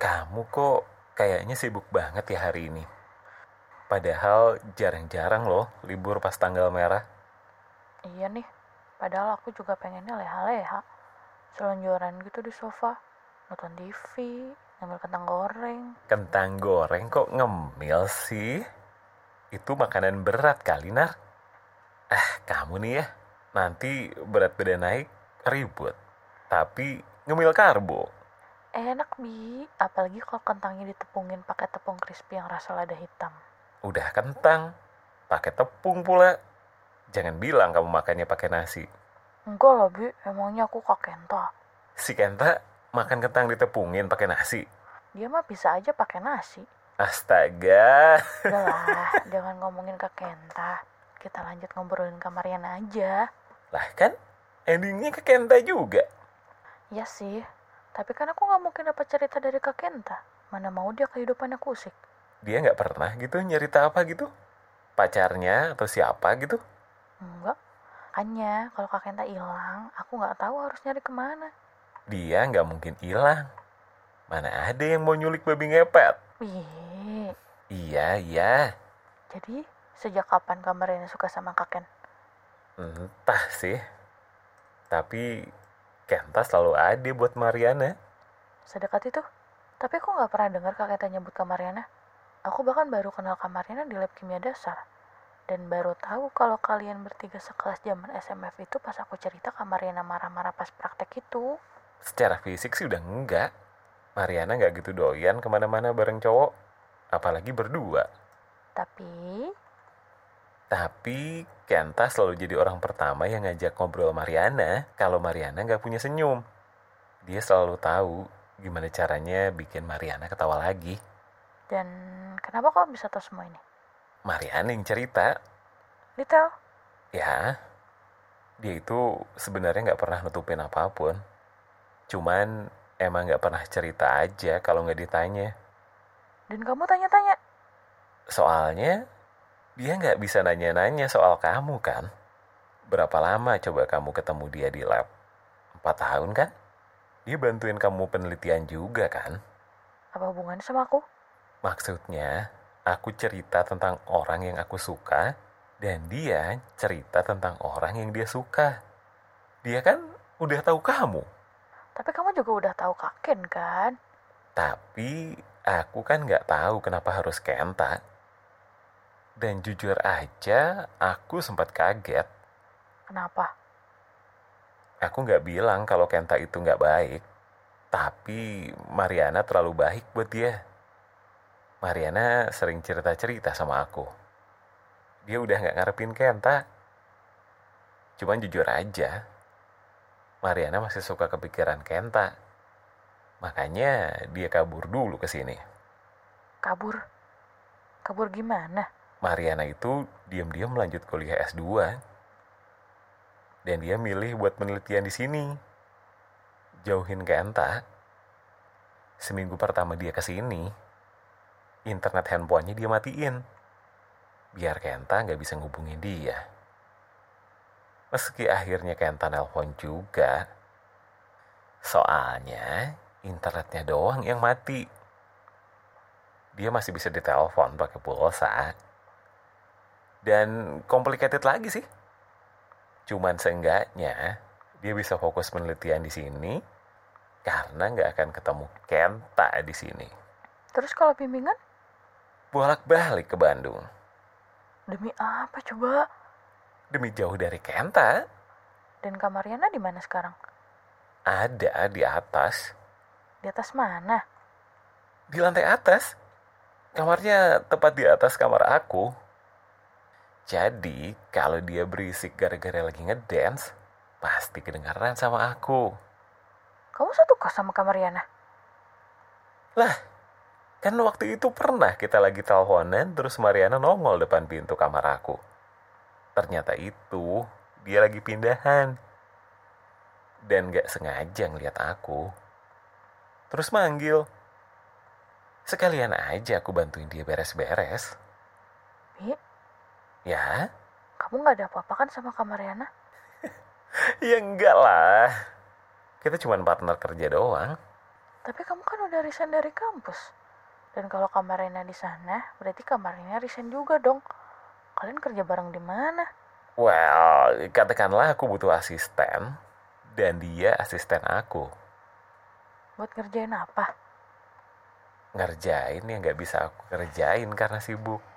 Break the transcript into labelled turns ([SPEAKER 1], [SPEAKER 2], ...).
[SPEAKER 1] kok kayaknya sibuk banget ya hari ini. Padahal jarang-jarang loh libur pas tanggal merah.
[SPEAKER 2] Iya nih, padahal aku juga pengennya leha-leha. Selonjoran gitu di sofa, nonton TV, ngambil kentang goreng.
[SPEAKER 1] Kentang goreng kok ngemil sih? Itu makanan berat kali, Nar. Ah, kamu nih ya, nanti berat badan naik ribut. Tapi ngemil karbo.
[SPEAKER 2] Enak, Bi. Apalagi kalau kentangnya ditepungin pakai tepung crispy yang rasa lada hitam.
[SPEAKER 1] Udah kentang, pakai tepung pula. Jangan bilang kamu makannya pakai nasi.
[SPEAKER 2] Enggak lah, Bi. Emangnya aku kak Kenta.
[SPEAKER 1] Si Kenta makan kentang ditepungin pakai nasi.
[SPEAKER 2] Dia mah bisa aja pakai nasi.
[SPEAKER 1] Astaga.
[SPEAKER 2] Udah lah, jangan ngomongin ke Kenta. Kita lanjut ngobrolin ke Mariana aja.
[SPEAKER 1] Lah kan endingnya ke Kenta juga.
[SPEAKER 2] Ya sih, tapi kan aku nggak mungkin dapat cerita dari Kak Kenta. Mana mau dia kehidupannya kusik.
[SPEAKER 1] Dia nggak pernah gitu nyerita apa gitu? Pacarnya atau siapa gitu?
[SPEAKER 2] Enggak. Hanya kalau Kak Kenta hilang, aku nggak tahu harus nyari kemana.
[SPEAKER 1] Dia nggak mungkin hilang. Mana ada yang mau nyulik babi ngepet?
[SPEAKER 2] Wih,
[SPEAKER 1] Iya, iya.
[SPEAKER 2] jadi sejak kapan Kak Mariana suka sama Kak Ken?
[SPEAKER 1] Entah sih. Tapi Kenta selalu ada buat Mariana.
[SPEAKER 2] Sedekat itu? Tapi aku nggak pernah dengar Kak Kenta nyebut Kak Mariana. Aku bahkan baru kenal Kak Mariana di lab kimia dasar. Dan baru tahu kalau kalian bertiga sekelas zaman SMF itu pas aku cerita Kak Mariana marah-marah pas praktek itu.
[SPEAKER 1] Secara fisik sih udah enggak. Mariana nggak gitu doyan kemana-mana bareng cowok. Apalagi berdua.
[SPEAKER 2] Tapi
[SPEAKER 1] Tapi Kenta selalu jadi orang pertama yang ngajak ngobrol Mariana kalau Mariana nggak punya senyum. Dia selalu tahu gimana caranya bikin Mariana ketawa lagi.
[SPEAKER 2] Dan kenapa kok bisa tahu semua ini?
[SPEAKER 1] Mariana yang cerita,
[SPEAKER 2] Detail.
[SPEAKER 1] ya dia itu sebenarnya nggak pernah nutupin apapun. Cuman emang nggak pernah cerita aja kalau nggak ditanya.
[SPEAKER 2] Dan kamu tanya-tanya.
[SPEAKER 1] Soalnya dia nggak bisa nanya-nanya soal kamu kan. Berapa lama coba kamu ketemu dia di lab? Empat tahun kan? Dia bantuin kamu penelitian juga kan?
[SPEAKER 2] Apa hubungannya sama aku?
[SPEAKER 1] Maksudnya, aku cerita tentang orang yang aku suka dan dia cerita tentang orang yang dia suka. Dia kan udah tahu kamu,
[SPEAKER 2] Tapi kamu juga udah tahu kaken kan?
[SPEAKER 1] tapi aku kan nggak tahu kenapa harus Kenta. Dan jujur aja, aku sempat kaget
[SPEAKER 2] Kenapa?
[SPEAKER 1] Aku nggak bilang kalau Kenta itu nggak baik, tapi Mariana terlalu baik buat dia. Mariana sering cerita-cerita sama aku. Dia udah nggak ngarepin Kenta. Cuman jujur aja, Mariana masih suka kepikiran Kenta. Makanya dia kabur dulu ke sini.
[SPEAKER 2] Kabur. Kabur gimana?
[SPEAKER 1] Mariana itu diam-diam lanjut kuliah S2. Dan dia milih buat penelitian di sini. Jauhin Kenta. Seminggu pertama dia ke sini, internet handphonenya dia matiin. Biar Kenta nggak bisa ngubungin dia. Meski akhirnya Kenta nelpon juga. Soalnya internetnya doang yang mati. Dia masih bisa ditelepon pakai pulsa dan complicated lagi sih. Cuman seenggaknya dia bisa fokus penelitian di sini karena nggak akan ketemu Kenta di sini.
[SPEAKER 2] Terus kalau bimbingan?
[SPEAKER 1] Bolak-balik ke Bandung
[SPEAKER 2] Demi apa coba?
[SPEAKER 1] demi jauh dari Kenta
[SPEAKER 2] Dan Kak Mariana di mana sekarang?
[SPEAKER 1] ada di atas,
[SPEAKER 2] Di atas mana?
[SPEAKER 1] di lantai atas. Kamarnya tepat di atas kamar aku. Jadi kalau dia berisik gara-gara lagi ngedance, pasti kedengaran sama aku.
[SPEAKER 2] Kamu satu kos sama Kak Mariana?
[SPEAKER 1] Kan waktu itu pernah kita lagi teleponan terus Mariana nongol depan pintu kamar aku. Ternyata itu dia lagi pindahan. Dan gak sengaja ngeliat aku. Terus manggil. Sekalian aja aku bantuin dia beres-beres.
[SPEAKER 2] Bi,
[SPEAKER 1] Ya,
[SPEAKER 2] kamu nggak ada apa-apa kan sama Kak Mariana?
[SPEAKER 1] ya enggak lah. Kita cuma partner kerja doang.
[SPEAKER 2] Tapi kamu kan udah resign dari kampus. Dan kalau kamar Rena di sana, berarti kamar Rena resign juga dong. Kalian kerja bareng di mana?
[SPEAKER 1] Well, katakanlah aku butuh asisten dan dia asisten aku.
[SPEAKER 2] Buat ngerjain apa?
[SPEAKER 1] Ngerjain yang nggak bisa aku kerjain karena sibuk.